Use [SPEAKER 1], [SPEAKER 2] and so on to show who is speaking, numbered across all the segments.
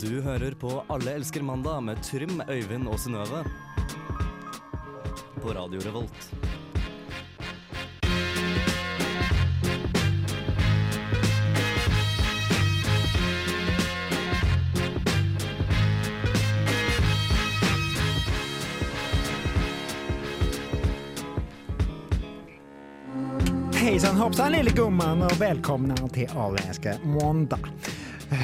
[SPEAKER 1] Du hører på Alle elsker mandag med Trym, Øyvind og Synnøve. På Radio Revolt.
[SPEAKER 2] Hejsan hoppsan lille gumman och välkomna till Allänska måndag.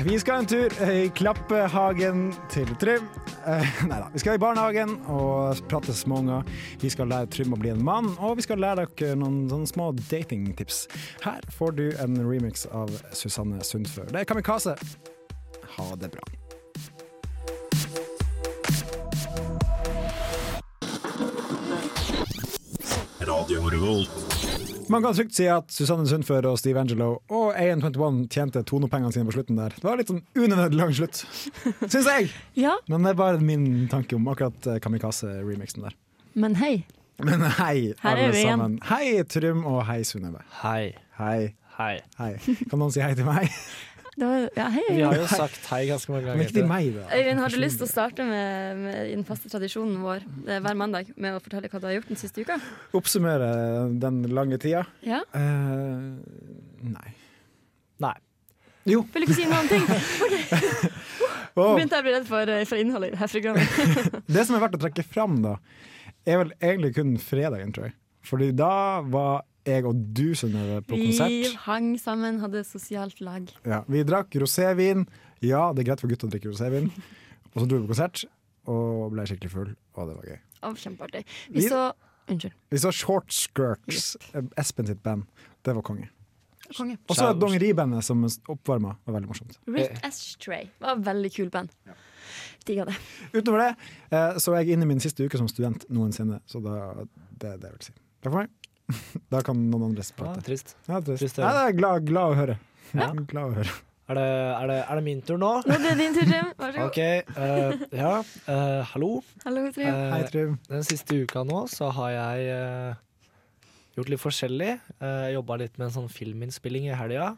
[SPEAKER 2] Vi ska en tur eh, i Klapphagen till Trym. Eh, Nei da. Vi skal i barnehagen og prate småunger. Vi skal lære Trym å bli en mann, og vi skal lære dere noen sånne eh, små datingtips. Her får du en remix av Susanne Sundfør. Det er Kamikaze. Ha det bra. Man kan trygt si at Susanne Sundfør og Steve Angelo og AN21 tjente tonopengene sine på slutten der. Det var litt sånn unødvendig lang slutt, syns jeg.
[SPEAKER 3] Ja,
[SPEAKER 2] Men det er bare min tanke om akkurat eh, Kamikaze-remixen der.
[SPEAKER 3] men hei.
[SPEAKER 2] Men hei,
[SPEAKER 3] Her er
[SPEAKER 2] alle
[SPEAKER 3] vi igjen.
[SPEAKER 2] sammen. Hei, Trym, og hei, Synnøve.
[SPEAKER 4] Hei.
[SPEAKER 2] Hei.
[SPEAKER 4] Hei.
[SPEAKER 2] Hei. Kan noen si hei til meg?
[SPEAKER 3] Det var, ja,
[SPEAKER 4] Vi
[SPEAKER 3] hei.
[SPEAKER 4] har jo sagt hei ganske mange
[SPEAKER 2] Men
[SPEAKER 4] ganger.
[SPEAKER 2] ikke til meg, da.
[SPEAKER 5] Øyvind, har du lyst til å starte med, med den faste tradisjonen vår eh, hver mandag med å fortelle hva du har gjort den siste uka?
[SPEAKER 2] Oppsummere den lange tida?
[SPEAKER 5] Ja.
[SPEAKER 2] Eh, nei.
[SPEAKER 4] Nei.
[SPEAKER 2] Jo.
[SPEAKER 5] Vil du ikke si noen ting? Nå
[SPEAKER 2] Og
[SPEAKER 5] begynte jeg å bli redd for, eh, for innholdet i dette programmet.
[SPEAKER 2] det som er verdt å trekke fram, da, er vel egentlig kun fredagen, tror jeg. Fordi da var jeg og du, Synnøve, på
[SPEAKER 5] Vi
[SPEAKER 2] konsert.
[SPEAKER 5] hang sammen, hadde sosialt lag.
[SPEAKER 2] Ja, vi drakk rosévin. Ja, det er greit for gutter å drikke rosévin. Og så dro vi på konsert og ble skikkelig full, og det var gøy.
[SPEAKER 5] Å, kjempeartig. Vi
[SPEAKER 2] Vi-
[SPEAKER 5] så Unnskyld.
[SPEAKER 2] Vi så Short Skirts, Espen sitt band. Det var konge.
[SPEAKER 5] Konge.
[SPEAKER 2] Og så Dongeribandet som oppvarma. Var veldig morsomt.
[SPEAKER 4] Eh.
[SPEAKER 5] Rick Ashtray var et veldig kul band. Digga det.
[SPEAKER 2] Utover det eh, så er jeg inne i min siste uke som student noensinne, så da, det er det jeg vil si. Takk for meg. Da kan noen andre
[SPEAKER 4] Ja,
[SPEAKER 2] prate.
[SPEAKER 4] trist.
[SPEAKER 2] Ja, det er,
[SPEAKER 4] trist å
[SPEAKER 2] Nei,
[SPEAKER 4] høre.
[SPEAKER 2] det er glad, glad å høre.
[SPEAKER 4] Ja.
[SPEAKER 2] Glad å høre.
[SPEAKER 4] Er det, er, det, er det min tur nå?
[SPEAKER 5] Nå er det din tur, Trym. Vær så god.
[SPEAKER 4] OK. eh, ja, eh, hallo.
[SPEAKER 5] Hallo,
[SPEAKER 4] Eh,
[SPEAKER 5] Trym.
[SPEAKER 2] Hei, Trym.
[SPEAKER 4] den siste uka nå så har jeg eh, gjort litt forskjellig. Uh, Jobba litt med en sånn filminnspilling i helga.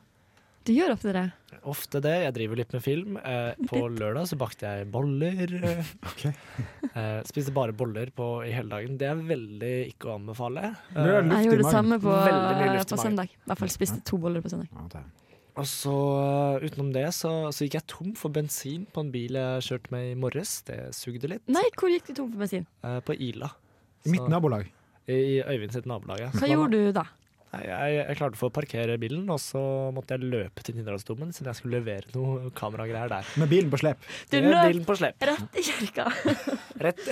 [SPEAKER 5] Du gjør ofte det.
[SPEAKER 4] Ofte det. Jeg driver litt med film. Eh, på lørdag så bakte jeg boller. eh,
[SPEAKER 2] Ok.
[SPEAKER 4] eh, spiste bare boller på, i hele dagen. Det er veldig ikke å anbefale.
[SPEAKER 2] Det er
[SPEAKER 4] Eh,
[SPEAKER 2] luft i
[SPEAKER 5] Jeg gjorde det
[SPEAKER 2] magen.
[SPEAKER 5] samme på, eh,
[SPEAKER 4] Veldig mye luft i
[SPEAKER 5] på
[SPEAKER 4] magen.
[SPEAKER 5] søndag. I hvert fall spiste to boller på søndag.
[SPEAKER 2] Ja, det er-
[SPEAKER 4] Og så eh, utenom det så, så gikk jeg tom for bensin på en bil jeg kjørte med i morges. Det sugde litt.
[SPEAKER 5] Nei, hvor gikk du tom for bensin?
[SPEAKER 4] Eh, på Ila.
[SPEAKER 2] I mitt
[SPEAKER 4] Så-
[SPEAKER 2] nabolag.
[SPEAKER 4] I Øyvind sitt nabolag. ja.
[SPEAKER 5] Hva
[SPEAKER 4] Så da-
[SPEAKER 5] gjorde du da?
[SPEAKER 4] Nei, Jeg, jeg klarte å få parkere bilen, og så måtte jeg løpe til Nidarosdomen siden jeg skulle levere noe kameragreier der.
[SPEAKER 2] Med bilen på slep.
[SPEAKER 5] Du
[SPEAKER 4] Med
[SPEAKER 5] løp
[SPEAKER 4] bilen på slep.
[SPEAKER 5] rett i kirka.
[SPEAKER 4] Rett.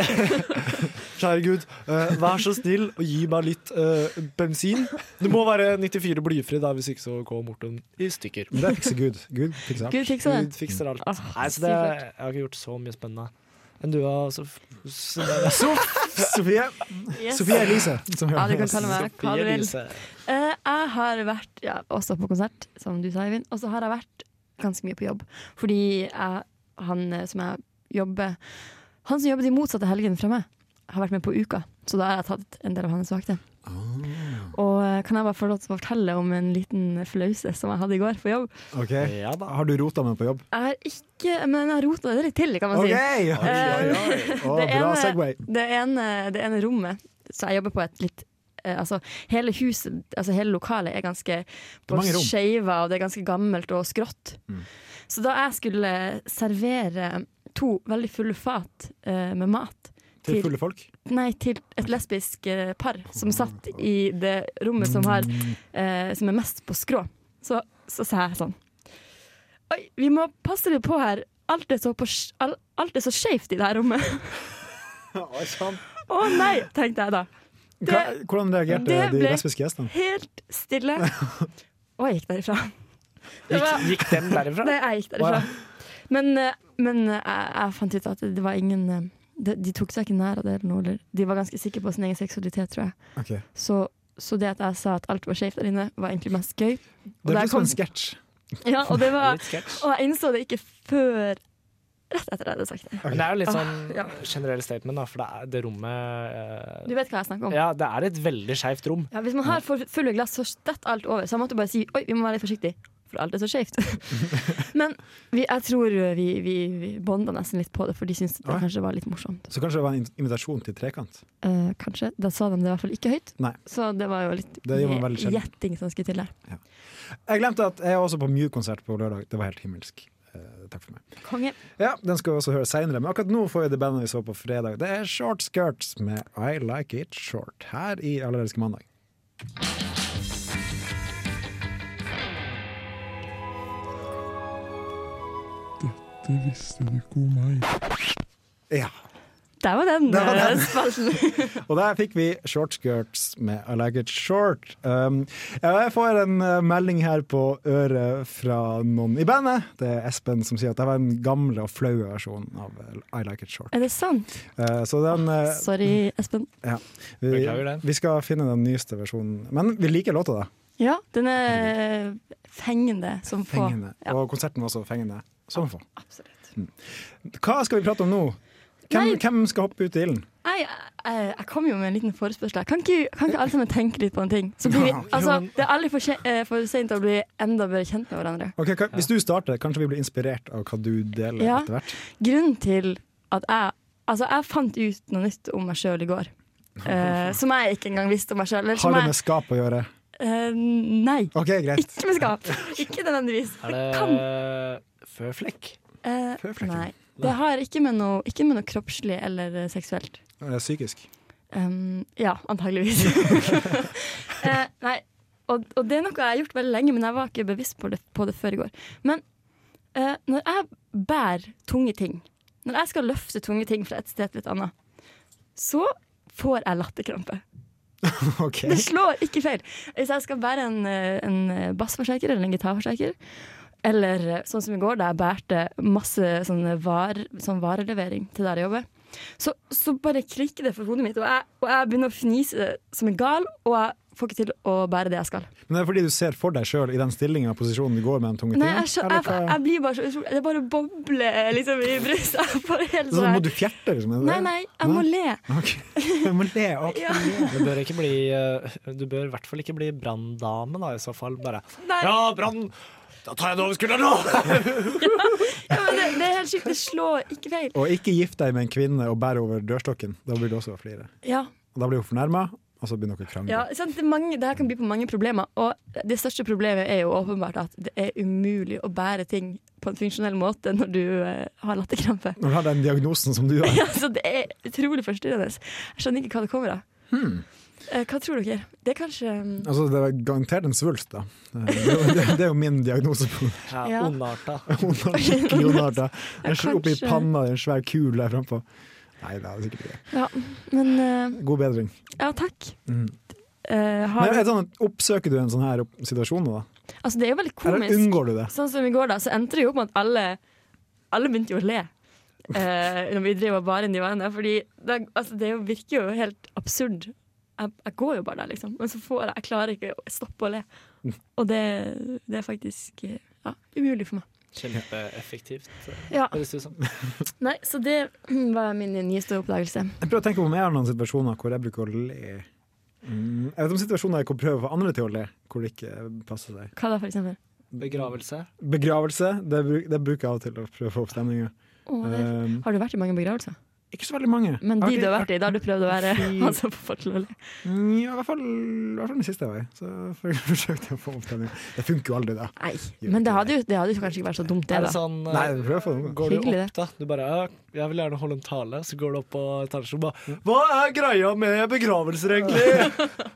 [SPEAKER 4] Kjære Gud, eh, vær så snill og gi meg litt eh, bensin. Det må være 94 blyfri, da, hvis ikke så går Morten i stykker.
[SPEAKER 2] Men det fikser Gud. Gud fikser alt.
[SPEAKER 5] Gud fiksa det.
[SPEAKER 4] Gud fikser alt.
[SPEAKER 5] Åh,
[SPEAKER 4] Nei, så det, jeg har ikke gjort så mye spennende. Enn du har, Sof... Sof-
[SPEAKER 2] Sofie,
[SPEAKER 5] Yes.
[SPEAKER 2] Sofie Elise. Som
[SPEAKER 5] Ja, du kan kalle meg hva du
[SPEAKER 4] Sofie
[SPEAKER 5] vil.
[SPEAKER 4] Elise.
[SPEAKER 5] Eh, jeg har vært ja, også på konsert, som du sa, Eivind. Og så har jeg vært ganske mye på jobb. Fordi jeg, han eh, som jeg jobber Han som jobber de motsatte helgene fra meg, har vært med på Uka. Så da har jeg tatt en del av hans vakter.
[SPEAKER 4] Ah.
[SPEAKER 5] Og eh, kan jeg bare få lov til å fortelle om en liten flause som jeg hadde i går på jobb?
[SPEAKER 2] Ok.
[SPEAKER 4] Ja da.
[SPEAKER 2] Har du rota med på jobb?
[SPEAKER 5] Jeg har ikke Men jeg rota det litt til, kan man
[SPEAKER 2] OK!
[SPEAKER 5] si.
[SPEAKER 2] Å, bra
[SPEAKER 5] ene-
[SPEAKER 2] Segway.
[SPEAKER 5] Eh, Det ene, det ene rommet Så jeg jobber på et litt eh, Altså hele huset, altså hele lokalet er ganske På
[SPEAKER 2] mange rom. Mm.
[SPEAKER 5] skjeva Og det er ganske gammelt og skrått Så da jeg skulle servere To veldig fulle fat eh, Med mat
[SPEAKER 2] Til fulle folk.
[SPEAKER 5] Nei, til et lesbisk eh, par Som satt i det rommet som, har,
[SPEAKER 2] Mm.
[SPEAKER 5] eh, som er mest på skrå så, så sa jeg sånn Oi, vi må passe litt på her Alt er så, på, sk- al- alt er så skjevt i det her rommet
[SPEAKER 2] Oi, sant.
[SPEAKER 5] Å nei, tenkte jeg da.
[SPEAKER 2] Hva, hvordan reagerte
[SPEAKER 5] det
[SPEAKER 2] de
[SPEAKER 5] ble-
[SPEAKER 2] lesbiske gjestene?
[SPEAKER 5] Helt stille. Og jeg gikk derifra. Det
[SPEAKER 4] Gikk,
[SPEAKER 5] var,
[SPEAKER 4] gikk den derifra?
[SPEAKER 5] det, jeg gikk derifra. Men, eh, men eh, jeg, jeg fant ut at det var ingen eh, De, de tok seg ikke nær av det eller noe. eller- De var ganske sikre på sin egen seksualitet, tror jeg.
[SPEAKER 2] Ok.
[SPEAKER 5] Så, så det at jeg sa at alt var skjevt der inne, var egentlig mest gøy.
[SPEAKER 2] Det
[SPEAKER 5] der
[SPEAKER 2] blir som
[SPEAKER 5] kom-
[SPEAKER 2] en sketsj.
[SPEAKER 5] Ja, og, det var,
[SPEAKER 4] Litt sketsj.
[SPEAKER 5] og jeg innså det ikke før Rett etter at jeg hadde sagt det.
[SPEAKER 4] Men det er jo litt sånn
[SPEAKER 5] Ah, ja.
[SPEAKER 4] generell statement, da, for det, er, det rommet
[SPEAKER 5] Du vet hva jeg snakker om.
[SPEAKER 4] eh, Ja, det er et veldig skeivt rom.
[SPEAKER 5] Ja, hvis man har for fulle glass, så detter alt over. Så jeg måtte bare si oi, vi må være litt forsiktige. For alt er så skjevt. Men vi, jeg tror vi, vi, vi bonda nesten litt på det, for de syntes det
[SPEAKER 2] Oi.
[SPEAKER 5] kanskje var litt morsomt.
[SPEAKER 2] Så kanskje det var en invitasjon til trekant.
[SPEAKER 5] Eh, kanskje. Da sa de det i hvert fall ikke høyt,
[SPEAKER 2] Nei.
[SPEAKER 5] så det var jo litt
[SPEAKER 2] Det gjør man veldig sjelden.
[SPEAKER 5] gjetting som skulle til der.
[SPEAKER 2] Jeg glemte at jeg var også på Mew-konsert på lørdag. Det var helt himmelsk. Eh, takk for meg.
[SPEAKER 5] Konge.
[SPEAKER 2] Ja, Den skal vi også høre seinere, men akkurat nå får vi det bandet vi så på fredag. Det er Short Skirts med I Like It Short her i Allerelske mandag.
[SPEAKER 3] Det visste du ikke om meg.
[SPEAKER 2] Ja,
[SPEAKER 5] Der var den,
[SPEAKER 2] Der var
[SPEAKER 5] eh,
[SPEAKER 2] den.
[SPEAKER 5] spalten.
[SPEAKER 2] Og der fikk vi Short Skirts med I Like It Short. Um, ja, jeg får en eh, melding her på øret fra noen i bandet. Det er Espen som sier at det var den gamle og flaue versjonen av eh, I Like It Short.
[SPEAKER 5] er det sant?
[SPEAKER 2] Eh, så den eh,
[SPEAKER 5] Sorry, Espen.
[SPEAKER 2] vi,
[SPEAKER 4] Beklager den.
[SPEAKER 2] vi skal finne den nyeste versjonen. Men vi liker låta, da.
[SPEAKER 5] Ja, den er fengende som få.
[SPEAKER 2] Fengende.
[SPEAKER 5] Ja,
[SPEAKER 2] Og konserten var også fengende. Sånn for.
[SPEAKER 5] absolutt.
[SPEAKER 2] Hva skal vi prate om nå? Hvem,
[SPEAKER 5] Nei.
[SPEAKER 2] hvem skal hoppe ut i ilden?
[SPEAKER 5] Nei, jeg, jeg, jeg kom jo med en liten forespørsel. her. Kan ikke, kan ikke alle sammen tenke litt på en ting? Så blir vi,
[SPEAKER 2] Ja, jo,
[SPEAKER 5] altså,
[SPEAKER 4] men-
[SPEAKER 5] det er aldri for, se- eh, for sent å bli enda bedre kjent med hverandre.
[SPEAKER 2] Ok, hva, Hvis du starter, kanskje vi blir inspirert av hva du deler
[SPEAKER 5] Ja.
[SPEAKER 2] etter hvert.
[SPEAKER 5] Grunnen til at jeg Altså, jeg fant ut noe nytt om meg sjøl i går. eh, som jeg ikke engang visste om meg sjøl.
[SPEAKER 2] Har det med skap å gjøre?
[SPEAKER 5] eh, Nei.
[SPEAKER 2] OK, greit.
[SPEAKER 5] Ikke med skap. Ikke nødvendigvis.
[SPEAKER 4] Er
[SPEAKER 5] Det kan
[SPEAKER 4] det føflekk?
[SPEAKER 5] eh,
[SPEAKER 2] Føflekken.
[SPEAKER 5] Nei. Det har ikke med noe, ikke med noe kroppslig eller eh, seksuelt.
[SPEAKER 2] Eh, Psykisk.
[SPEAKER 5] Um, ja, antageligvis. Eh, nei, og, og det er noe jeg har gjort veldig lenge, men jeg var ikke bevisst på det, på det før i går. Men eh, når jeg bærer tunge ting, når jeg skal løfte tunge ting fra et sted til et annet, så får jeg latterkrampe.
[SPEAKER 2] OK.
[SPEAKER 5] Det slår ikke feil. Hvis jeg skal bære en, eh, en bassforsterker eller en gitarforsterker, eller eh, sånn som i går, da jeg bærte masse sånne var, sånn varelevering til der jeg jobber, så, så bare klikker det for hodet mitt, og jeg, og jeg begynner å fnise som en gal, og jeg får ikke til å bære det jeg skal.
[SPEAKER 2] Men det er fordi du ser for deg sjøl i den stillinga og posisjonen du går med den tunge
[SPEAKER 5] Nei, jeg,
[SPEAKER 2] tingen?
[SPEAKER 5] skjø-
[SPEAKER 2] Eller
[SPEAKER 5] jeg,
[SPEAKER 2] hva-
[SPEAKER 5] jeg blir bare så utrolig Det bare bobler liksom i brystet. Jeg får helt
[SPEAKER 2] Så
[SPEAKER 5] sånn
[SPEAKER 2] må
[SPEAKER 5] her-
[SPEAKER 2] du fjerte, liksom? er det
[SPEAKER 5] Nei,
[SPEAKER 2] det?
[SPEAKER 5] nei, jeg må le.
[SPEAKER 2] Ok. Jeg må le opp.
[SPEAKER 5] Ja,
[SPEAKER 4] Du bør ikke bli eh, Du bør i hvert fall ikke bli branndame, da, i så fall. Bare
[SPEAKER 5] nei.
[SPEAKER 4] Ja, brann! Da tar jeg det over skulderen nå!
[SPEAKER 5] Ja, men det, det er helt sykt. Det slår ikke feil.
[SPEAKER 2] Og ikke gift deg med en kvinne og bære over dørstokken. Da blir du også flire.
[SPEAKER 5] Ja,
[SPEAKER 2] Og da blir hun fornærma, og så begynner dere å krangle.
[SPEAKER 5] Ja, sant? Det, er mange, det her kan by på mange problemer. Og det største problemet er jo åpenbart at det er umulig å bære ting på en funksjonell måte når du eh, har latterkrampe.
[SPEAKER 2] Når du har den diagnosen som du har.
[SPEAKER 5] Ja, så det er utrolig forstyrrende. Jeg skjønner ikke hva det kommer av. Eh, Hva tror dere? Det er kanskje mm,
[SPEAKER 2] Altså, det er garantert en svulst, da. Eh, Det er jo, det, det er jo min diagnose. på
[SPEAKER 4] Ja,
[SPEAKER 5] Ja.
[SPEAKER 4] Ondarta.
[SPEAKER 2] Hun har skikkelig ondarta. Jeg slo opp i
[SPEAKER 5] kanskje.
[SPEAKER 2] panna i en svær kul der frampå. Nei, det er sikkert ikke det.
[SPEAKER 5] Ja, mm, men eh,
[SPEAKER 2] God bedring.
[SPEAKER 5] Ja, takk.
[SPEAKER 2] Mm.
[SPEAKER 5] Eh,
[SPEAKER 2] Men
[SPEAKER 5] har,
[SPEAKER 2] er det sånn, at oppsøker du en sånn her opp- situasjon, da?
[SPEAKER 5] altså, det er jo veldig
[SPEAKER 2] Eller
[SPEAKER 5] komisk.
[SPEAKER 2] unngår du det?
[SPEAKER 5] Sånn som i går, da, så endte det jo opp med at alle Alle begynte jo å le. eh, når vi driver og bar inn de varene. Fordi det, altså, det jo virker jo helt absurd. Jeg, jeg går jo bare der, liksom. Men så får jeg Jeg klarer ikke å stoppe å le. Og det, det er faktisk eh, ja, umulig for meg.
[SPEAKER 4] Kjempeeffektivt, eh,
[SPEAKER 5] Ja,
[SPEAKER 4] høres det ut som.
[SPEAKER 5] nei, Så det var min nyeste oppdagelse.
[SPEAKER 2] Jeg prøver å tenke på om jeg har noen situasjoner hvor jeg bruker å le. Mm, jeg vet om situasjoner hvor jeg prøver å få andre til å le, hvor det ikke passer seg.
[SPEAKER 5] Hva da, for eksempel?
[SPEAKER 4] Begravelse.
[SPEAKER 2] Begravelse, det, bru- det bruker jeg av og til å prøve å få opp stemninga.
[SPEAKER 5] Å, det- har du vært i mange begravelser?
[SPEAKER 2] ikke så veldig mange.
[SPEAKER 5] Men de
[SPEAKER 2] Jeg
[SPEAKER 5] du har
[SPEAKER 2] Eh, ikke-
[SPEAKER 5] vært i, da har du prøvd å være
[SPEAKER 2] Fy.
[SPEAKER 5] han som får folk til å le?
[SPEAKER 2] Mm, Ja, i hvert fall, i hvert fall den siste jeg var i. Så for- forsøkte jeg å få opp stemninga. Det funker jo aldri, da.
[SPEAKER 5] Nei. Men det hadde, jo, det hadde jo kanskje ikke vært så dumt, det,
[SPEAKER 4] Er det
[SPEAKER 5] da.
[SPEAKER 4] sånn eh,
[SPEAKER 2] Nei, prøv å få det.
[SPEAKER 4] Går du
[SPEAKER 5] Hyggelig,
[SPEAKER 4] opp, da? Du bare ja, 'Jeg vil gjerne holde en tale', så går du opp på etasjen og bare 'Hva er greia med begravelser, egentlig?'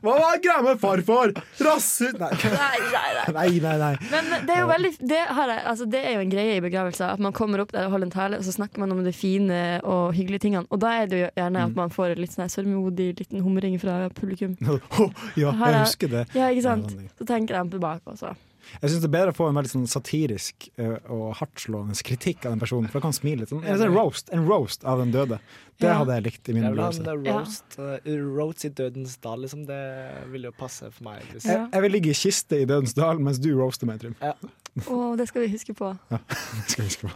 [SPEAKER 2] Hva var greia med farfar? Rasshøl Nei.
[SPEAKER 5] Nei, nei, nei.
[SPEAKER 2] nei, nei, nei.
[SPEAKER 5] Men men det er jo veldig det, har jeg, altså det er jo en greie i begravelser. At man kommer opp der og holder en tale, og så snakker man om de fine og hyggelige tingene. Og da er det jo gjerne
[SPEAKER 2] Mm.
[SPEAKER 5] at man får en litt sånn her sørgmodig liten humring fra publikum.
[SPEAKER 2] Ho, ja,
[SPEAKER 5] Har
[SPEAKER 2] jeg
[SPEAKER 5] jeg-
[SPEAKER 2] husker det.
[SPEAKER 5] Ja, ikke sant? Så tenker de tilbake også.
[SPEAKER 2] Jeg syns det er bedre å få en veldig sånn satirisk eh, og hardtslående kritikk av den personen, for da kan han smile litt. Sånn. En sånn roast, en roast av den døde. Det
[SPEAKER 5] Ja.
[SPEAKER 2] hadde jeg likt i min
[SPEAKER 4] Jeg vil ha
[SPEAKER 2] begravelse.
[SPEAKER 4] en roast, eh, roast i dødens dal, liksom. Det ville jo passe for meg. Hvis.
[SPEAKER 5] Ja.
[SPEAKER 2] Jeg, jeg vil ligge i kiste i Dødens dal mens du roaster meg, Trym.
[SPEAKER 5] Å, det skal vi huske på.
[SPEAKER 2] Det skal jeg huske på.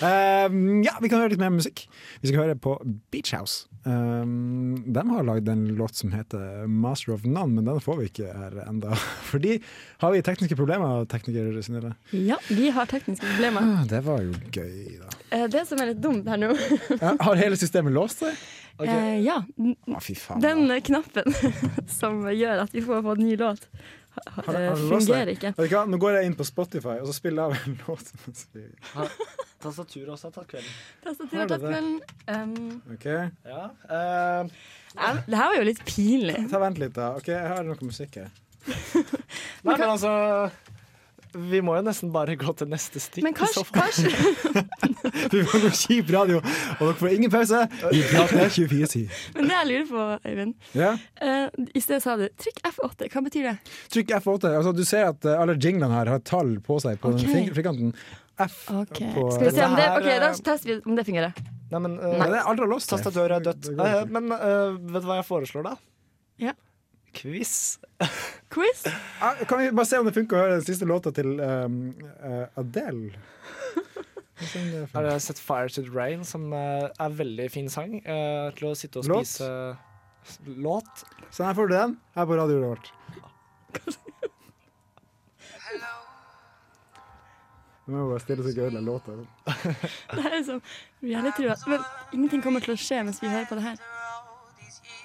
[SPEAKER 2] Um, ja, vi kan høre litt mer musikk. Vi skal høre på Beach House. Um, de har lagd en låt som heter Master of None, men den får vi ikke her enda. Fordi har vi tekniske problemer, tekniker Synnøve?
[SPEAKER 5] Ja, vi har tekniske problemer.
[SPEAKER 2] Ah, Det var jo gøy, da.
[SPEAKER 5] Eh, Det som er litt dumt her nå
[SPEAKER 2] Ja, Har hele systemet låst seg?
[SPEAKER 5] eh, Ja, n-
[SPEAKER 2] Å, fy faen.
[SPEAKER 5] den knappen som gjør at vi får på en ny låt, ha-
[SPEAKER 2] Har det-
[SPEAKER 5] eh,
[SPEAKER 2] har det låst seg?
[SPEAKER 5] fungerer ikke.
[SPEAKER 2] Vet du hva, Nå går jeg inn på Spotify og så spiller jeg av en låt. mens vi-
[SPEAKER 4] Tastaturet også har tatt kvelden.
[SPEAKER 5] Tastaturet
[SPEAKER 2] Har
[SPEAKER 5] tatt
[SPEAKER 2] det det?
[SPEAKER 5] kvelden. Um,
[SPEAKER 2] Ok,
[SPEAKER 4] Ja. eh,
[SPEAKER 5] jeg- det her var jo litt pinlig.
[SPEAKER 2] ta Vent litt, da. Ok, Jeg har noe musikk her.
[SPEAKER 4] nei, men altså Vi må jo nesten bare gå til neste stikk.
[SPEAKER 5] Men
[SPEAKER 4] i så
[SPEAKER 5] kanskje,
[SPEAKER 4] fall.
[SPEAKER 5] kanskje
[SPEAKER 2] Vi får noe kjip radio, og dere får ingen pause. Vi prater 24-10.
[SPEAKER 5] Men det jeg lurer på, Øyvind
[SPEAKER 2] Ja.
[SPEAKER 5] eh, I sted sa du 'trykk F8'. Hva betyr det?
[SPEAKER 2] Trykk F8. Altså, du ser at eh, alle jinglene her har tall på seg på
[SPEAKER 5] Ok.
[SPEAKER 2] den fri- frikanten. F. På-
[SPEAKER 5] Skal vi se om det
[SPEAKER 4] Dette her,
[SPEAKER 5] Ok, da
[SPEAKER 4] eh,
[SPEAKER 5] tester vi om det fungerer.
[SPEAKER 4] Nei, men eh,
[SPEAKER 2] Nei, det er aldri låst. det.
[SPEAKER 4] Tastaturet er dødt.
[SPEAKER 2] Det går
[SPEAKER 4] Eh,
[SPEAKER 2] ikke.
[SPEAKER 4] men eh, vet du hva jeg foreslår, da?
[SPEAKER 5] Ja.
[SPEAKER 4] Quiz.
[SPEAKER 5] Quiz?
[SPEAKER 2] Ah, Kan vi bare se om det funker å høre den siste låta til um, eh, Adele? Hva er det for-
[SPEAKER 4] Har dere sett Fire to the Rain, som eh, er veldig fin sang eh, til å sitte og
[SPEAKER 2] Låt?
[SPEAKER 4] spise Låt.
[SPEAKER 2] Sånn, her får du den her på radioen vårt. Vi må bare stille så gøy den låta.
[SPEAKER 5] Det her er som reality rock. Men ingenting kommer til å skje mens vi hører på det her.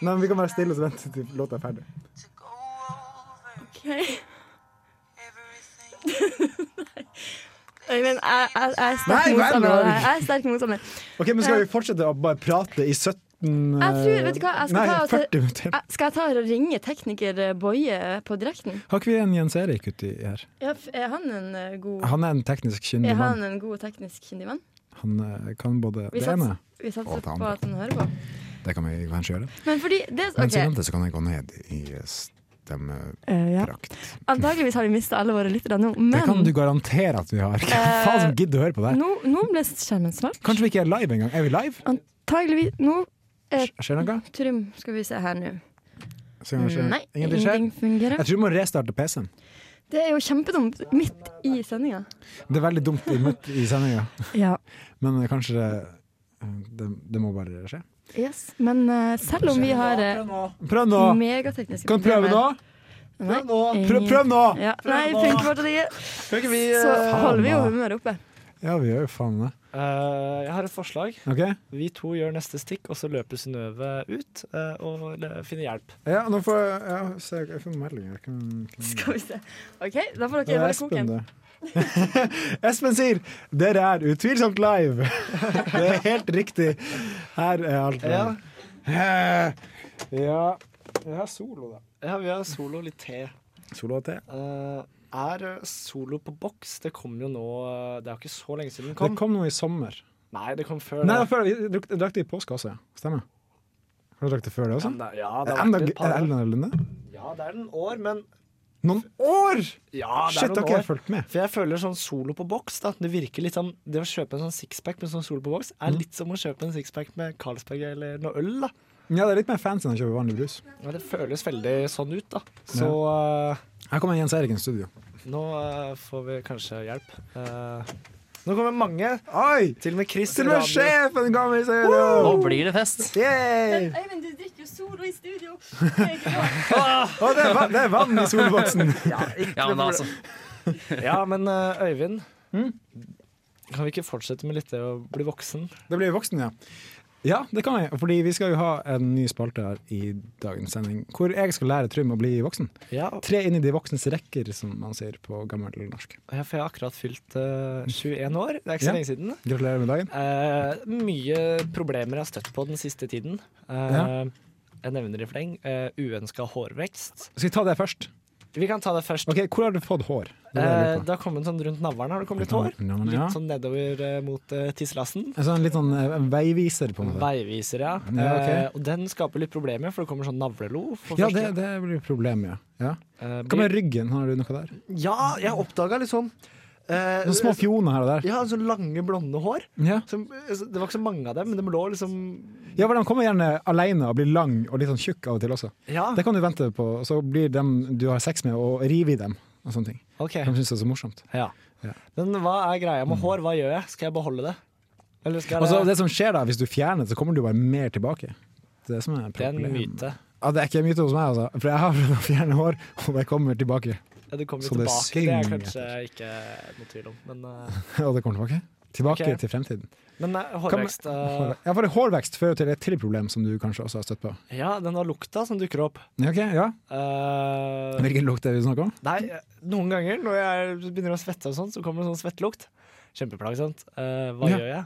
[SPEAKER 2] Nei, men vi kan bare stille og vente til låta er ferdig.
[SPEAKER 5] Ok Øyvind, jeg, jeg, jeg er sterk
[SPEAKER 2] Nei, vel,
[SPEAKER 5] motstander. av det her.
[SPEAKER 2] vel.
[SPEAKER 5] Jeg er sterk motstander.
[SPEAKER 2] Ok, men Skal vi fortsette å bare prate i 17
[SPEAKER 5] Jeg tror- vet du hva, jeg skal
[SPEAKER 2] Nei,
[SPEAKER 5] ta og se-
[SPEAKER 2] 40 minutter.
[SPEAKER 5] Jeg- Skal jeg ta og ringe tekniker eh, Boje på direkten?
[SPEAKER 2] Har ikke vi en Jens Erik uti her?
[SPEAKER 5] Ja, f- er han en eh, god
[SPEAKER 2] Han er en teknisk
[SPEAKER 5] Er
[SPEAKER 2] kyndig
[SPEAKER 5] han
[SPEAKER 2] mann.
[SPEAKER 5] en god teknisk kyndig mann?
[SPEAKER 2] Han eh, kan både
[SPEAKER 5] Vi
[SPEAKER 2] det
[SPEAKER 5] sats-
[SPEAKER 2] ene
[SPEAKER 5] Vi satser
[SPEAKER 2] Og ta han.
[SPEAKER 5] på at han hører på.
[SPEAKER 2] Det kan vi kanskje gjøre.
[SPEAKER 5] Men fordi det
[SPEAKER 6] Men siden
[SPEAKER 5] OK.
[SPEAKER 6] det så kan jeg gå ned i
[SPEAKER 2] eh,
[SPEAKER 6] stemmeprakt.
[SPEAKER 5] Eh, ja. Antakeligvis har vi mista alle våre lyttere nå, men Eh,
[SPEAKER 2] Det kan du garantere at vi har. Hvem faen som gidder å høre på det? her?
[SPEAKER 5] nå, nå ble skjermen svart.
[SPEAKER 2] Kanskje vi ikke er live engang. Er vi live?
[SPEAKER 5] Antageligvis Nå,
[SPEAKER 2] Skjer noe?
[SPEAKER 5] Trym, skal vi se her nå.
[SPEAKER 2] Ser vi kanskje-
[SPEAKER 5] Nei,
[SPEAKER 2] Ingenting skjer?
[SPEAKER 5] ingenting fungerer.
[SPEAKER 2] Jeg tror vi må restarte PC-en.
[SPEAKER 5] Det er jo kjempedumt midt i sendinga.
[SPEAKER 2] Det er veldig dumt i, midt i sendinga,
[SPEAKER 5] Ja.
[SPEAKER 2] men kanskje det, det, det må bare skje.
[SPEAKER 5] Yes. Men eh, selv om vi har eh,
[SPEAKER 2] Prøv nå!
[SPEAKER 5] megatekniske
[SPEAKER 2] Kan du prøve nå?
[SPEAKER 5] Nei,
[SPEAKER 4] Prøv nå.
[SPEAKER 5] ingen-
[SPEAKER 2] Prøv, prøv nå!
[SPEAKER 5] Ja. Nei, funker fortsatt ikke.
[SPEAKER 4] Kan ikke vi
[SPEAKER 5] Så
[SPEAKER 4] eh,
[SPEAKER 5] holder vi jo humøret oppe.
[SPEAKER 2] Ja, vi gjør jo faen det.
[SPEAKER 4] eh, Jeg har et forslag.
[SPEAKER 2] Ok?
[SPEAKER 4] Vi to gjør neste stikk, og så løper Synnøve ut eh, og le- finner hjelp.
[SPEAKER 2] Ja, nå får jeg, ja, se, jeg får en melding. Jeg kan, kan...
[SPEAKER 5] Skal vi se. OK, da får
[SPEAKER 2] Det
[SPEAKER 5] dere
[SPEAKER 2] er
[SPEAKER 5] være
[SPEAKER 2] Espen,
[SPEAKER 5] koken.
[SPEAKER 2] det. Espen sier 'Dere er utvilsomt live'. det er helt riktig. Her er alt. live. Ja. Jeg har solo, da.
[SPEAKER 4] Ja, vi har solo litt te.
[SPEAKER 2] Solo og te.
[SPEAKER 4] Eh, er solo på boks? Det kom jo nå eh, Det er jo ikke så lenge siden den
[SPEAKER 2] Det
[SPEAKER 4] kom.
[SPEAKER 2] kom noe i sommer.
[SPEAKER 4] Nei, det kom før.
[SPEAKER 2] Nei,
[SPEAKER 4] det.
[SPEAKER 2] jeg føler- vi drakk, drakk det i påske også, ja. Stemmer. Har du drukket det før det også?
[SPEAKER 4] Men det- ja, det
[SPEAKER 2] Er
[SPEAKER 4] har
[SPEAKER 2] det enda-
[SPEAKER 4] vært
[SPEAKER 2] er
[SPEAKER 4] et
[SPEAKER 2] det
[SPEAKER 4] par år.
[SPEAKER 2] enda eller noe?
[SPEAKER 4] Ja, det er en år, men
[SPEAKER 2] Noen år!
[SPEAKER 4] Ja, det
[SPEAKER 2] Shit,
[SPEAKER 4] er
[SPEAKER 2] har
[SPEAKER 4] noen
[SPEAKER 2] ikke jeg
[SPEAKER 4] år.
[SPEAKER 2] fulgt med.
[SPEAKER 4] For jeg føler sånn solo på boks, da. Det virker litt sånn Det å kjøpe en sånn sixpack med sånn solo på boks,
[SPEAKER 2] Mm.
[SPEAKER 4] er litt som å kjøpe en sixpack med Carlsberg eller noe øl, da.
[SPEAKER 2] Ja, Det er litt mer fancy enn å kjøpe vanlig brus.
[SPEAKER 4] Ja, det føles veldig sånn ut, da. Så eh,
[SPEAKER 2] Her kommer Jens Erikens studio.
[SPEAKER 4] nå eh, får vi kanskje hjelp. Eh, nå kommer mange.
[SPEAKER 2] Oi!
[SPEAKER 4] Til og med Chris
[SPEAKER 2] Til og med
[SPEAKER 4] Radner.
[SPEAKER 2] sjefen kommer i
[SPEAKER 7] Nå
[SPEAKER 2] studio!
[SPEAKER 7] blir det fest.
[SPEAKER 2] Yay!
[SPEAKER 5] Øyvind, du drikker jo solo i studio.
[SPEAKER 2] Å, det, er vann, det er vann i solboksen!
[SPEAKER 7] Ja, men altså,
[SPEAKER 4] Ja, men eh, Øyvind.
[SPEAKER 2] Mm.
[SPEAKER 4] Kan vi ikke fortsette med litt det å bli voksen?
[SPEAKER 2] Det blir voksen, ja. Ja, det kan jeg. Fordi vi skal jo ha en ny spalte her i dagens sending, hvor jeg skal lære Trym å bli voksen.
[SPEAKER 4] Ja,
[SPEAKER 2] Tre inn i de voksnes rekker, som man sier på gammel norsk.
[SPEAKER 4] for jeg har akkurat fylt eh, 21 år. Det er ikke
[SPEAKER 2] Ja.
[SPEAKER 4] så lenge siden.
[SPEAKER 2] Gratulerer med dagen.
[SPEAKER 4] Eh, mye problemer jeg har støtt på den siste tiden. Eh, Jeg nevner i fleng. Uh, Uønska hårvekst.
[SPEAKER 2] Skal vi ta det først?
[SPEAKER 4] Vi kan ta det først.
[SPEAKER 2] Ok, Hvor har du fått hår? Det er det jeg
[SPEAKER 4] Eh,
[SPEAKER 2] lurer på.
[SPEAKER 4] det har kommet sånn rundt navlen. Har det kommet litt hår?
[SPEAKER 2] Ja, men ja.
[SPEAKER 4] Litt sånn nedover eh, mot uh, tisselassen.
[SPEAKER 2] En sånn, litt sånn eh, veiviser, på en måte.
[SPEAKER 4] Veiviser, ja.
[SPEAKER 2] Ja, ok.
[SPEAKER 4] Eh, og den skaper litt problemer, for det kommer sånn navlelo. For
[SPEAKER 2] Ja,
[SPEAKER 4] første
[SPEAKER 2] det,
[SPEAKER 4] gang.
[SPEAKER 2] det blir et problem, ja. ja.
[SPEAKER 4] Eh,
[SPEAKER 2] Hva med ryggen, har du noe der?
[SPEAKER 4] Ja, jeg oppdaga liksom eh,
[SPEAKER 2] Noen små fjoner her og der.
[SPEAKER 4] Ja, så lange, blonde hår.
[SPEAKER 2] Ja,
[SPEAKER 4] Som, altså, det var ikke så mange av dem, men de lå liksom
[SPEAKER 2] ja for De kommer gjerne alene og blir lang og litt sånn tjukk av og til også.
[SPEAKER 4] Ja,
[SPEAKER 2] Det kan du vente på, og så blir dem du har sex med, og rive i dem. Og sånne ting.
[SPEAKER 4] OK.
[SPEAKER 2] De syns det er så morsomt.
[SPEAKER 4] Ja.
[SPEAKER 2] Ja.
[SPEAKER 4] Men hva er greia med hår? Hva gjør jeg? Skal jeg beholde det? Eller skal
[SPEAKER 2] Og så
[SPEAKER 4] det
[SPEAKER 2] Altså, det som skjer da, hvis du fjerner det, så kommer du bare mer tilbake. Det er det som er
[SPEAKER 4] Det er en
[SPEAKER 2] problemet.
[SPEAKER 4] myte.
[SPEAKER 2] Ja, det er ikke en myte hos meg, altså. For jeg har prøvd å fjerne hår, og det kommer tilbake.
[SPEAKER 4] Ja, det kommer
[SPEAKER 2] Så det
[SPEAKER 4] tilbake. Det er
[SPEAKER 2] synger
[SPEAKER 4] kanskje ikke noe tvil om. Men, eh,
[SPEAKER 2] Og det kommer tilbake. Tilbake
[SPEAKER 4] Ok.
[SPEAKER 2] til fremtiden.
[SPEAKER 4] men eh, hårvekst eh,
[SPEAKER 2] Hår- Ja, for hårvekst fører til et til problem som du kanskje også har støtt på.
[SPEAKER 4] Ja, den der lukta som dukker opp.
[SPEAKER 2] Ja, Ok, ja.
[SPEAKER 4] Eh,
[SPEAKER 2] Hvilken lukt er det vi snakker om?
[SPEAKER 4] nei, eh, noen ganger når jeg begynner å svette, og sånn, så kommer det sånn svettlukt. Kjempeplagsomt. Eh, hva
[SPEAKER 2] Ja.
[SPEAKER 4] gjør jeg?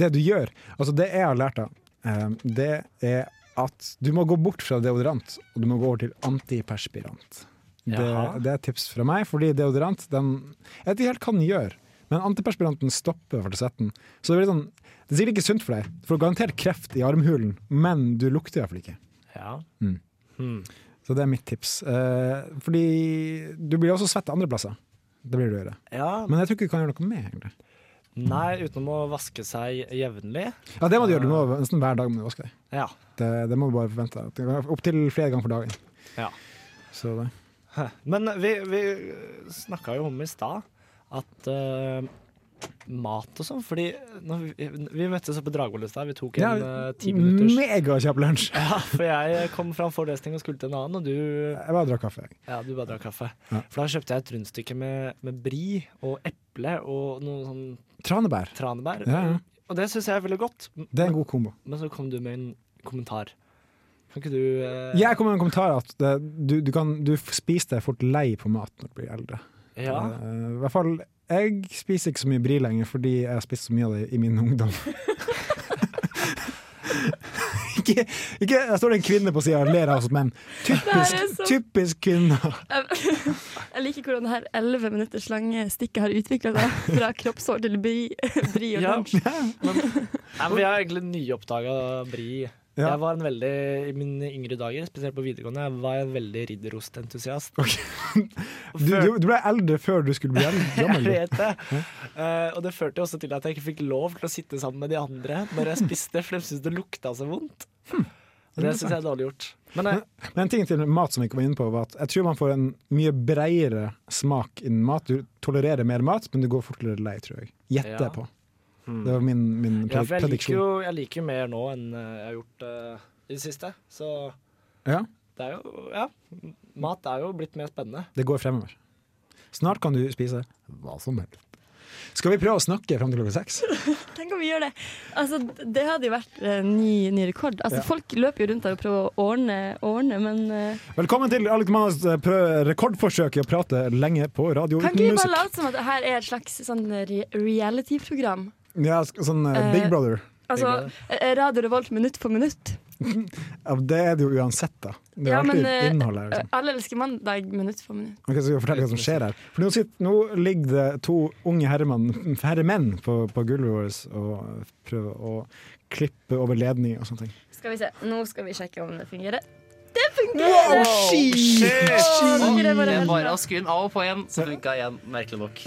[SPEAKER 2] Det du gjør, altså det jeg har lært da, eh, det er at du må gå bort fra deodorant, og du må gå over til antiperspirant. Det,
[SPEAKER 4] Jaha.
[SPEAKER 2] det er et tips fra meg, fordi deodorant, den, jeg vet ikke helt hva den gjør, men antiperspiranten stopper falsetten. Så det blir sånn, det er sikkert ikke sunt for deg, for du får garantert kreft i armhulen, men du lukter i hvert fall ikke.
[SPEAKER 4] Ja.
[SPEAKER 2] Mm.
[SPEAKER 4] Hmm.
[SPEAKER 2] Så det er mitt tips. Eh, fordi du blir også svett andre plasser. Det blir du gjøre.
[SPEAKER 4] ja.
[SPEAKER 2] Men jeg tror ikke du kan gjøre noe med, egentlig.
[SPEAKER 4] Nei, utenom å vaske seg jevnlig.
[SPEAKER 2] Ja, det må du gjøre. Du må nesten hver dag må du vaske deg.
[SPEAKER 4] Ja.
[SPEAKER 2] Det, det må du bare forvente. Det kan være Opptil flere ganger for dagen.
[SPEAKER 4] Ja.
[SPEAKER 2] Så det.
[SPEAKER 4] Men vi, vi snakka jo om i stad at eh, mat og sånn Fordi når vi, vi møttes oppe på Dragvoll i stad. Vi tok en eh, ti
[SPEAKER 2] mm.
[SPEAKER 4] minutters
[SPEAKER 2] Megakjapp lunsj!
[SPEAKER 4] Ja, for jeg kom fra en forelesning og skulle til en annen, og du,
[SPEAKER 2] Jeg bare drakk kaffe. jeg.
[SPEAKER 4] ja, du bare drakk kaffe.
[SPEAKER 2] Ja.
[SPEAKER 4] For da kjøpte jeg et rundstykke med, med bri og eple og noe sånn
[SPEAKER 2] Tranebær.
[SPEAKER 4] tranebær.
[SPEAKER 2] Ja, ja.
[SPEAKER 4] Og det syns jeg er veldig godt. M-
[SPEAKER 2] Det er en god kombo.
[SPEAKER 4] Men så kom du med en kommentar. Kan ikke du eh,
[SPEAKER 2] Jeg kommer med en kommentar at det, du, du, kan, du spiser deg fort lei på mat når du blir eldre.
[SPEAKER 4] ja.
[SPEAKER 2] Eh, I hvert fall, jeg spiser ikke så mye bri lenger fordi jeg har spist så mye av det i min ungdom. ikke, ikke, der står det en kvinne på sida og ler av oss menn.
[SPEAKER 5] Det er
[SPEAKER 2] Typisk,
[SPEAKER 5] så-
[SPEAKER 2] typisk kvinner.
[SPEAKER 5] Jeg jeg liker hvordan det her 11 minutters lange stikket har utvikla seg. Fra kroppshår til bri, bri og
[SPEAKER 4] Ja.
[SPEAKER 5] lunsj.
[SPEAKER 4] Nei, men jeg har egentlig nyoppdaga bri.
[SPEAKER 2] Ja.
[SPEAKER 4] Jeg var en veldig, I mine yngre dager, spesielt på videregående, jeg var en veldig ridderostentusiast.
[SPEAKER 2] Du, du, du ble eldre før du skulle bli eldre.
[SPEAKER 4] Jeg
[SPEAKER 2] gammel. du.
[SPEAKER 4] vet det. Eh, og det førte jo også til at jeg ikke fikk lov til å sitte sammen med de andre når jeg spiste, for de syntes det lukta så vondt.
[SPEAKER 2] Hm.
[SPEAKER 4] Og det syns jeg er dårlig gjort. Men eh,
[SPEAKER 2] Men en ting til mat som vi ikke var inne på, var at jeg tror man får en mye bredere smak innen mat. Du tolererer mer mat, men du går fortere lei, tror jeg. Gjetter jeg
[SPEAKER 4] Ja. Hmm.
[SPEAKER 2] på. Det var min, min
[SPEAKER 4] ja, for jeg liker,
[SPEAKER 2] prediksjon.
[SPEAKER 4] jo, jeg liker jo mer nå enn eh, jeg har gjort eh, i det siste. Så
[SPEAKER 2] Ja,
[SPEAKER 4] det er jo Ja. Mat er jo blitt mer spennende.
[SPEAKER 2] det går fremover. Snart kan du spise hva som helst. Skal vi prøve å snakke fram til klokka seks?
[SPEAKER 5] Tenk om vi gjør det! Altså, det hadde jo vært eh, ny, ny rekord. Altså,
[SPEAKER 2] Ja.
[SPEAKER 5] Folk løper jo rundt her og prøver å ordne, ordne men eh,
[SPEAKER 2] Velkommen til Alex Mannas eh, prø- rekordforsøk i å prate lenge på radio
[SPEAKER 5] kan
[SPEAKER 2] uten
[SPEAKER 5] ikke vi bare
[SPEAKER 2] musikk.
[SPEAKER 5] late som at det her er et slags sånn re reality-program?
[SPEAKER 2] Ja, sk- sånn eh, Big
[SPEAKER 5] Eh,
[SPEAKER 2] Brother.
[SPEAKER 5] Altså eh, Radio Revolt minutt for minutt.
[SPEAKER 2] Ja, det er det jo uansett, da. Det er
[SPEAKER 5] Ja,
[SPEAKER 2] alltid
[SPEAKER 5] men, eh,
[SPEAKER 2] innholdet her. Liksom.
[SPEAKER 5] Eh, Alle elsker mandag minutt for minutt.
[SPEAKER 2] Ok, så skal vi fortelle hva som skjer her. For nå, sitter, nå ligger det to unge herremann- herremenn på, på gulvet vårt og prøver å klippe over ledninger og sånne ting.
[SPEAKER 5] Skal vi se. Nå skal vi sjekke om det fungerer.
[SPEAKER 2] Wow,
[SPEAKER 5] Å, dere er bare
[SPEAKER 7] Det er bare
[SPEAKER 5] heldige.
[SPEAKER 7] å skru den av og på igjen, så funka igjen, merkelig nok.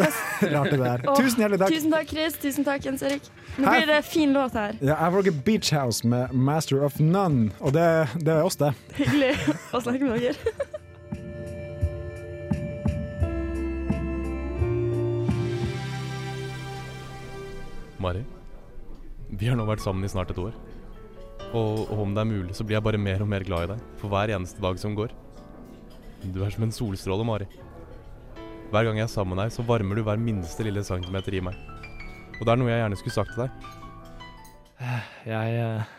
[SPEAKER 2] Rart det der.
[SPEAKER 5] Åh,
[SPEAKER 2] Tusen hjertelig takk.
[SPEAKER 5] Tusen takk, Chris. Tusen takk, Jens Erik. Nå
[SPEAKER 2] Her-
[SPEAKER 5] blir det fin låt her.
[SPEAKER 2] Ja, jeg bruker Beach House med Master of None, og det, det er oss, det.
[SPEAKER 5] Hyggelig å snakke med dere.
[SPEAKER 8] Mari, vi har nå vært sammen i snart et år. Og, og om det er mulig, så blir jeg bare mer og mer glad i deg for hver eneste dag som går. Du er som en solstråle, Mari. Hver gang jeg er sammen med deg, så varmer du hver minste lille centimeter i meg. Og det er noe jeg gjerne skulle sagt til deg.
[SPEAKER 4] Jeg eh,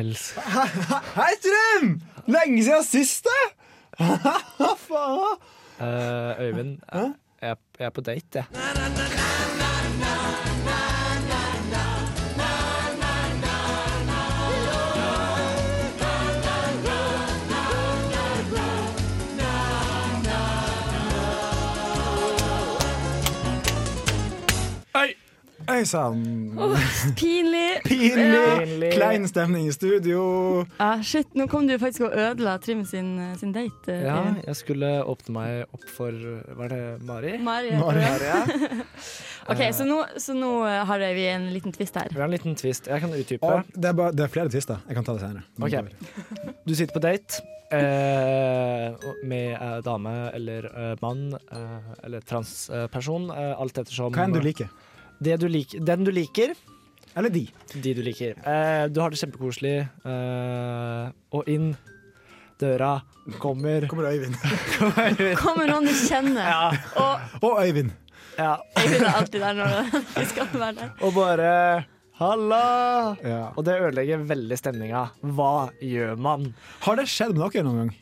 [SPEAKER 4] elsker
[SPEAKER 2] Hei, Trym! Lenge siden sist, det! Faen!
[SPEAKER 4] Eh, Øyvind, jeg, jeg er på date, jeg.
[SPEAKER 2] Øy sann.
[SPEAKER 5] Pinlig.
[SPEAKER 2] Pinlig.
[SPEAKER 4] Pinlig.
[SPEAKER 2] Klein stemning i studio.
[SPEAKER 5] Ah, shit, nå kom du faktisk og ødela Trym sin, sin date. eh,
[SPEAKER 4] Ja,
[SPEAKER 5] Øyvind.
[SPEAKER 4] jeg skulle åpne meg opp for Var det Mari?
[SPEAKER 5] Mari.
[SPEAKER 2] Mari.
[SPEAKER 5] heter du. OK, så nå, så nå eh, har vi en liten twist her.
[SPEAKER 4] Vi har en liten twist. Jeg kan utdype.
[SPEAKER 2] Og det, er bare, det er flere tvister. Jeg kan ta det senere.
[SPEAKER 4] Ok. Du sitter på date eh, og- med eh, dame eller eh, mann eh, eller transperson, eh, alt ettersom
[SPEAKER 2] Hva enn du liker.
[SPEAKER 4] Det du lik- Den du liker.
[SPEAKER 2] Eller de.
[SPEAKER 4] De du liker. Eh, du har det kjempekoselig, eh, og inn døra kommer
[SPEAKER 2] Kommer Øyvind.
[SPEAKER 5] Kommer noen du kjenner.
[SPEAKER 4] ja,
[SPEAKER 5] Og
[SPEAKER 2] Og Øyvind.
[SPEAKER 4] ja,
[SPEAKER 5] Øyvind er alltid der når vi skal være der.
[SPEAKER 4] og bare Halla!
[SPEAKER 2] Ja.
[SPEAKER 4] Og det ødelegger veldig stemninga. Hva gjør man?
[SPEAKER 2] Har det skjedd med dere noen gang?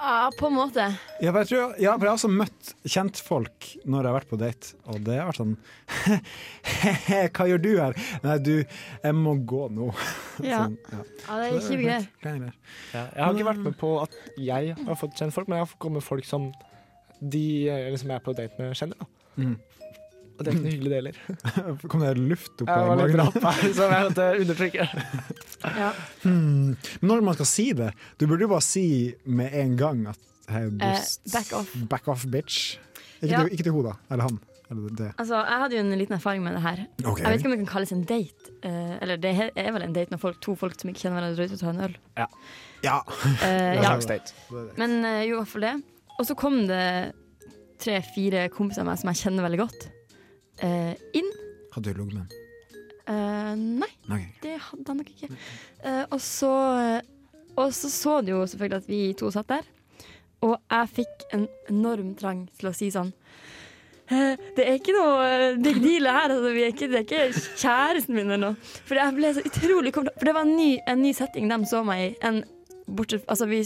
[SPEAKER 5] Ja, på en måte.
[SPEAKER 2] Ja, for jeg, tror, ja, for jeg har også møtt kjentfolk når jeg har vært på date, og det har vært sånn Hva gjør du her? Nei, du, jeg må gå nå.
[SPEAKER 5] Ja,
[SPEAKER 2] Sånn, ja.
[SPEAKER 5] ja det er kjipe greier.
[SPEAKER 2] Kleine greier.
[SPEAKER 4] Ja, jeg har ikke vært med på at jeg har fått kjent folk, men jeg har fått kommet folk som de eh, liksom jeg er på date med, kjenner. Da.
[SPEAKER 2] Mm.
[SPEAKER 4] Og det er ikke noe hyggelig, det heller.
[SPEAKER 2] Kom det luft opp
[SPEAKER 4] Jeg
[SPEAKER 2] av
[SPEAKER 4] var litt
[SPEAKER 2] magen?
[SPEAKER 4] rapp her, som jeg måtte undertrykke.
[SPEAKER 5] Ja.
[SPEAKER 2] Hmm. Men Når man skal si det, du burde jo bare si med en gang at hei, du
[SPEAKER 5] Eh,
[SPEAKER 2] s-
[SPEAKER 5] back off.
[SPEAKER 2] Back off, bitch. Ikke,
[SPEAKER 5] Ja.
[SPEAKER 2] til, ikke til hun, da. Eller han. Eller det.
[SPEAKER 5] Altså, jeg hadde jo en liten erfaring med det her.
[SPEAKER 2] Ok.
[SPEAKER 5] Jeg vet ikke om det kan kalles en date. Eh, eller det he- er vel en date når folk, to folk som ikke kjenner hverandre, drar ut og tar en øl.
[SPEAKER 2] Ja.
[SPEAKER 5] Eh,
[SPEAKER 4] En
[SPEAKER 5] ja.
[SPEAKER 4] slags date.
[SPEAKER 5] Men eh, jo, i hvert fall det. Og så kom det tre-fire kompiser av meg som jeg kjenner veldig godt, eh, inn.
[SPEAKER 2] Hadde du ligget med ham?
[SPEAKER 5] Eh, nei,
[SPEAKER 2] Ok.
[SPEAKER 5] det hadde han nok ikke. Eh, og, så, eh, og så så du jo selvfølgelig at vi to satt der. Og jeg fikk en enorm trang til å si sånn eh, Det er ikke noe eh, big deal her. Altså, vi er ikke, det er ikke kjæresten min eller noe. For jeg ble så utrolig komfortabel. For det var en ny, en ny setting de så meg i. En, bortsett, altså, vi,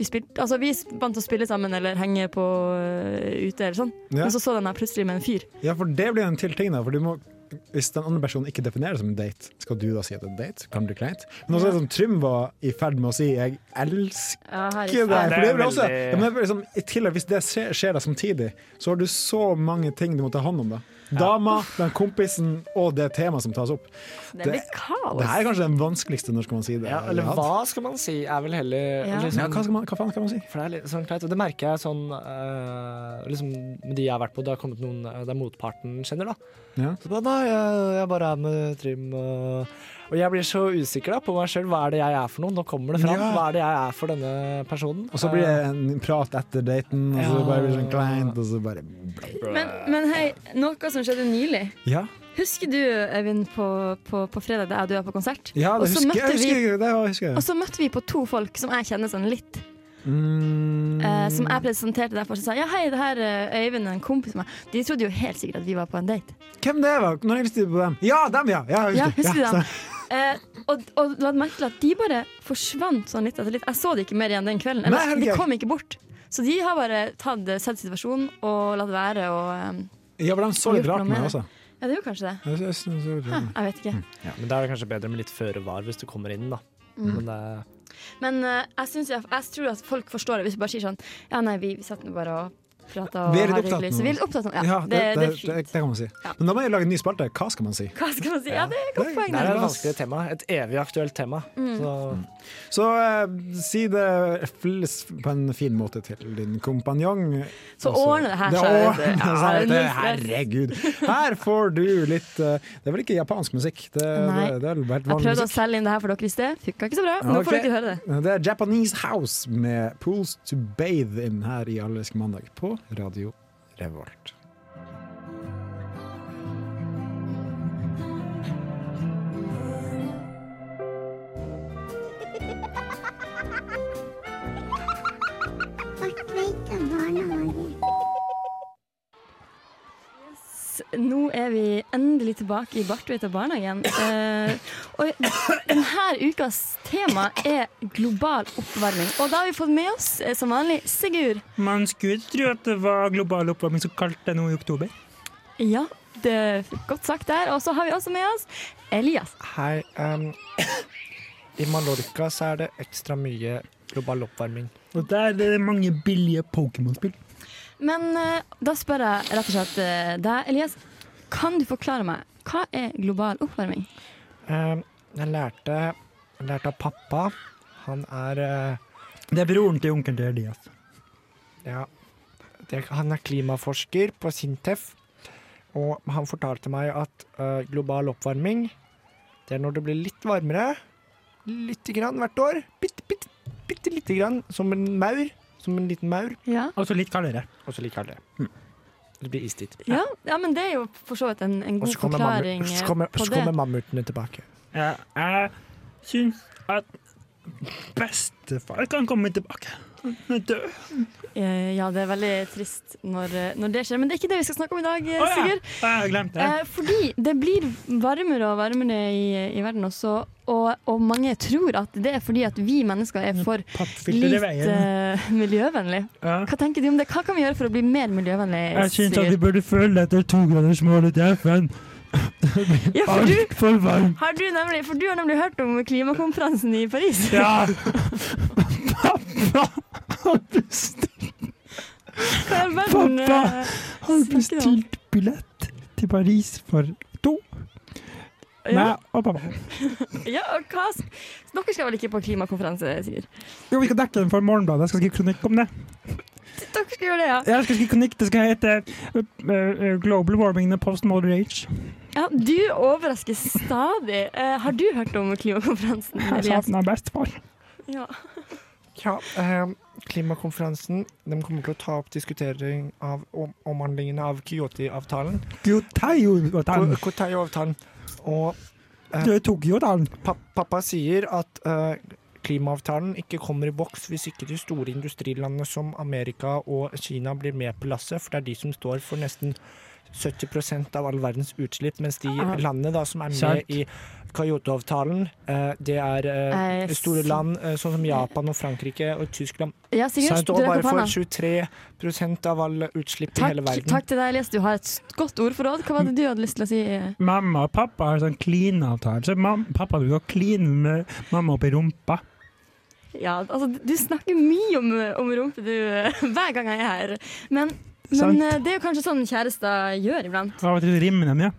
[SPEAKER 5] vi, spilte, altså, vi vant til å spille sammen eller henge på eh, ute eller sånn.
[SPEAKER 2] Ja.
[SPEAKER 5] Men så så de meg plutselig med en fyr.
[SPEAKER 2] ja, for det blir en til ting, da. For du må, hvis den andre personen ikke definerer det som en date, skal du da si at det er en date? Kan det bli kleint? Men også
[SPEAKER 5] Ja.
[SPEAKER 2] det som Trym var i ferd med å si, jeg elsker
[SPEAKER 5] Ja, her
[SPEAKER 2] ikke det.
[SPEAKER 4] Ja, det
[SPEAKER 2] For det
[SPEAKER 4] er
[SPEAKER 2] blir også,
[SPEAKER 4] veldig-
[SPEAKER 2] ja, men det blir liksom, i tillegg, hvis det skjer, skjer da samtidig, så har du så mange ting du må ta hånd om. da. Dama, den kompisen og det temaet som tas opp.
[SPEAKER 5] Det blir kaos.
[SPEAKER 2] Det her er kanskje den vanskeligste, når skal man si det?
[SPEAKER 4] Ja, eller
[SPEAKER 2] Ja.
[SPEAKER 4] hva skal man si, er vel heller
[SPEAKER 5] Ja.
[SPEAKER 4] liksom,
[SPEAKER 2] Ja, hva, skal man, hva faen skal man si?
[SPEAKER 4] For det er litt sånn kleint, og det merker jeg sånn eh, Liksom med de jeg har vært på, det har kommet noen eh, der motparten kjenner, da.
[SPEAKER 2] Ja.
[SPEAKER 4] Så bare, nei, jeg, jeg bare er med Trym og Og jeg blir så usikker da på meg sjøl. Hva er det jeg er for noe? Nå kommer det fram.
[SPEAKER 2] Ja.
[SPEAKER 4] Hva er det jeg er for denne personen?
[SPEAKER 2] Og så blir det en prat etter daten, og så
[SPEAKER 4] Ja.
[SPEAKER 2] bare blir det sånn kleint, og så bare
[SPEAKER 5] Men, men hei, noe som skjedde nylig.
[SPEAKER 2] Ja,
[SPEAKER 5] Husker du, Øyvind, på, på, på fredag da jeg og du var på konsert?
[SPEAKER 2] ja
[SPEAKER 5] Og
[SPEAKER 2] det
[SPEAKER 5] så
[SPEAKER 2] husker jeg.
[SPEAKER 5] møtte vi-
[SPEAKER 2] Husker, jeg, det husker
[SPEAKER 5] Og
[SPEAKER 2] jeg.
[SPEAKER 5] så møtte vi på to folk som jeg kjenner sånn litt.
[SPEAKER 2] Mm.
[SPEAKER 5] eh, som jeg presenterte derfor. Som sa ja, hei, det her eh, Øyvind og en kompis av meg. De trodde jo helt sikkert at vi var på en date.
[SPEAKER 2] Hvem det var? Når jeg visste på dem? Ja, dem, ja! ja, jeg
[SPEAKER 5] Ja, husker
[SPEAKER 2] Ja,
[SPEAKER 5] du det? Eh, og, og la merke til at de bare forsvant sånn litt etter litt. Jeg så det ikke mer igjen den
[SPEAKER 2] Nei,
[SPEAKER 5] kvelden. Eller,
[SPEAKER 2] herregud.
[SPEAKER 5] de kom ikke bort. Så de har bare tatt, eh, sett situasjonen og latt være og eh,
[SPEAKER 2] så- ja, for de så litt
[SPEAKER 5] Gjort
[SPEAKER 2] rart
[SPEAKER 5] noe
[SPEAKER 2] med meg
[SPEAKER 5] med
[SPEAKER 2] også.
[SPEAKER 5] Ja, det gjorde kanskje det.
[SPEAKER 2] Jeg synes de så litt rart
[SPEAKER 5] Hæ,
[SPEAKER 2] med meg.
[SPEAKER 5] jeg vet ikke.
[SPEAKER 4] Eh, Men da er det kanskje bedre med litt føre var hvis du kommer inn, da. Men det,
[SPEAKER 5] Men eh, jeg, synes, jeg, jeg tror at folk forstår det hvis du bare sier sånn Ja, nei, vi, vi satt nå bare og prata og
[SPEAKER 2] Vi er litt
[SPEAKER 5] har
[SPEAKER 2] opptatt
[SPEAKER 5] hyggelig.
[SPEAKER 2] nå.
[SPEAKER 5] Så vi er litt opptatt nå. Ja,
[SPEAKER 2] Ja,
[SPEAKER 5] det, det, er
[SPEAKER 2] det,
[SPEAKER 5] fint.
[SPEAKER 2] det kan man si.
[SPEAKER 5] Ja.
[SPEAKER 2] Men da må jeg lage en ny spalte. Hva skal man si?
[SPEAKER 5] Hva skal man si? Ja, det er et godt
[SPEAKER 2] Det- altså.
[SPEAKER 5] poeng.
[SPEAKER 4] det
[SPEAKER 5] da.
[SPEAKER 4] er
[SPEAKER 2] la
[SPEAKER 4] et
[SPEAKER 2] oss-
[SPEAKER 4] vanskelig tema. Et evig aktuelt tema. Så
[SPEAKER 2] Så eh, si det fl- på en fin måte til din kompanjong.
[SPEAKER 5] Så
[SPEAKER 2] Også-
[SPEAKER 5] ordner det her
[SPEAKER 2] Det
[SPEAKER 5] seg,
[SPEAKER 2] ordner
[SPEAKER 5] vet du. Ja,
[SPEAKER 2] seg, vet du.
[SPEAKER 5] null stress.
[SPEAKER 2] Herregud. Her får du litt eh, Det er vel ikke japansk musikk? Det,
[SPEAKER 5] Nei.
[SPEAKER 2] det, det er vel helt
[SPEAKER 5] Jeg
[SPEAKER 2] vanlig
[SPEAKER 5] prøvde å
[SPEAKER 2] musikk.
[SPEAKER 5] selge inn det her for dere i sted. Funka ikke så bra. Nå får
[SPEAKER 2] Ok.
[SPEAKER 5] dere høre det.
[SPEAKER 2] Det er Japanese House med Pools to Bathe In her i Allerske mandag på Radio Revolt.
[SPEAKER 5] S- Nå er vi endelig tilbake i Bartveita barnehagen. Eh, og denne ukas tema er global oppvarming. Og da har vi fått med oss, eh, som vanlig, Sigurd.
[SPEAKER 9] Man skulle tro at det var global oppvarming så kaldt det er nå i oktober.
[SPEAKER 5] Ja, det er godt sagt der. Og så har vi også med oss Elias.
[SPEAKER 4] Hei. ehm, I Mallorca så er det ekstra mye global oppvarming.
[SPEAKER 9] Og der er det mange billige Pokémon-spill.
[SPEAKER 5] Men eh, da spør jeg rett og slett eh, deg, Elias. Kan du forklare meg, hva er global oppvarming?
[SPEAKER 4] Ehm, jeg lærte, jeg lærte av pappa. Han er eh,
[SPEAKER 9] Det er broren til onkelen til Elias.
[SPEAKER 4] Ja. Det, han er klimaforsker på Sintef. Og han fortalte meg at eh, global oppvarming, det er når det blir litt varmere. Lite grann hvert år. Bitte, bitte, bitte lite grann. Som en maur. Som en liten maur.
[SPEAKER 5] Ja.
[SPEAKER 9] Altså litt kaldere.
[SPEAKER 4] Hm. Og så liker jeg det. Det blir istid.
[SPEAKER 5] Ja, ja, men det er jo for så vidt en, en
[SPEAKER 4] Og
[SPEAKER 5] god
[SPEAKER 4] så kommer,
[SPEAKER 5] forklaring
[SPEAKER 4] mammu,
[SPEAKER 5] eh,
[SPEAKER 4] så kommer,
[SPEAKER 5] på
[SPEAKER 4] så
[SPEAKER 5] det.
[SPEAKER 4] kommer mammutene tilbake.
[SPEAKER 9] Ja, jeg syns at bestefar kan komme tilbake. Han er død.
[SPEAKER 5] Eh, Ja, det er veldig trist når, eh, når det skjer, men det er ikke det vi skal snakke om i dag, eh,
[SPEAKER 9] Å ja,
[SPEAKER 5] Sigurd.
[SPEAKER 9] jeg har glemt det.
[SPEAKER 5] Eh, fordi det blir varmere og varmere i, i verden også, og, og mange tror at det er fordi at vi mennesker er for eh,
[SPEAKER 9] Pappfilter i
[SPEAKER 5] lite
[SPEAKER 9] Mm. veien.
[SPEAKER 5] miljøvennlig.
[SPEAKER 9] Ja.
[SPEAKER 5] Hva tenker du om det? Hva kan vi gjøre for å bli mer miljøvennlig?
[SPEAKER 9] Jeg syns at vi
[SPEAKER 5] Sigurd?
[SPEAKER 9] burde følge etter togradersmålet til FN.
[SPEAKER 5] ja, for, du,
[SPEAKER 9] Altfor varmt.
[SPEAKER 5] har du nemlig, for du har nemlig hørt om klimakonferansen i Paris.
[SPEAKER 9] Ja.
[SPEAKER 5] Hva i all verden,
[SPEAKER 9] Pappa,
[SPEAKER 5] eh,
[SPEAKER 9] Har
[SPEAKER 5] snakker du om?
[SPEAKER 9] bestilt billett til Paris for to.
[SPEAKER 5] Ja,
[SPEAKER 9] Meg og pappa.
[SPEAKER 5] ja, og hva, s- dere skal vel ikke på klimakonferanse, Sigurd?
[SPEAKER 9] Jo, vi skal dekke den for Morgenbladet. Jeg skal skrive kronikk om det.
[SPEAKER 5] Dere skal gjøre det, ja.
[SPEAKER 9] Jeg skal skrive kronikk. Det skal hete uh, uh, 'Global warming in the postmodern age'.
[SPEAKER 5] ja. Du overrasker stadig. Eh, har du hørt om klimakonferansen?
[SPEAKER 9] Jeg
[SPEAKER 5] Elias?
[SPEAKER 9] savner bestefar.
[SPEAKER 5] Ja.
[SPEAKER 4] Ja, eh, klimakonferansen de kommer til å ta opp diskutering av om omhandlingen av Kyoto-avtalen.
[SPEAKER 9] Kyoto-avtalen.
[SPEAKER 4] Kyoto-avtalen. Og
[SPEAKER 9] Det er Tokyo-avtalen.
[SPEAKER 4] pa pappa sier at eh, klimaavtalen ikke kommer i boks hvis ikke de store industrilandene som Amerika og Kina blir med på lasset, for det er de som står for nesten 70 av all verdens utslipp, mens de
[SPEAKER 5] Ah.
[SPEAKER 4] landene da, som er med
[SPEAKER 9] Sant.
[SPEAKER 4] i Kyoto-avtalen, eh, det er eh,
[SPEAKER 5] Eh,
[SPEAKER 4] store land eh, sånn som Japan og Frankrike og Tyskland.
[SPEAKER 5] ja,
[SPEAKER 4] Som
[SPEAKER 5] Sigurd, du
[SPEAKER 4] står
[SPEAKER 5] rekker
[SPEAKER 4] bare
[SPEAKER 5] opp hånda.
[SPEAKER 4] for 23 av all utslipp i
[SPEAKER 5] Takk,
[SPEAKER 4] hele verden.
[SPEAKER 5] takk til deg, Elias. Du har et s- godt ordforråd. Hva var det du hadde lyst til å si? eh?
[SPEAKER 9] Mamma og pappa har sånn kline-avtale. Så mam pappa du skal kline med mamma oppi rumpa.
[SPEAKER 5] Ja, altså, du snakker mye om, om rumpe, du, eh, hver gang jeg er her. Men,
[SPEAKER 9] Sant.
[SPEAKER 5] men eh, det er jo kanskje sånn kjærester gjør iblant.
[SPEAKER 9] Av og til rimer dem, ja.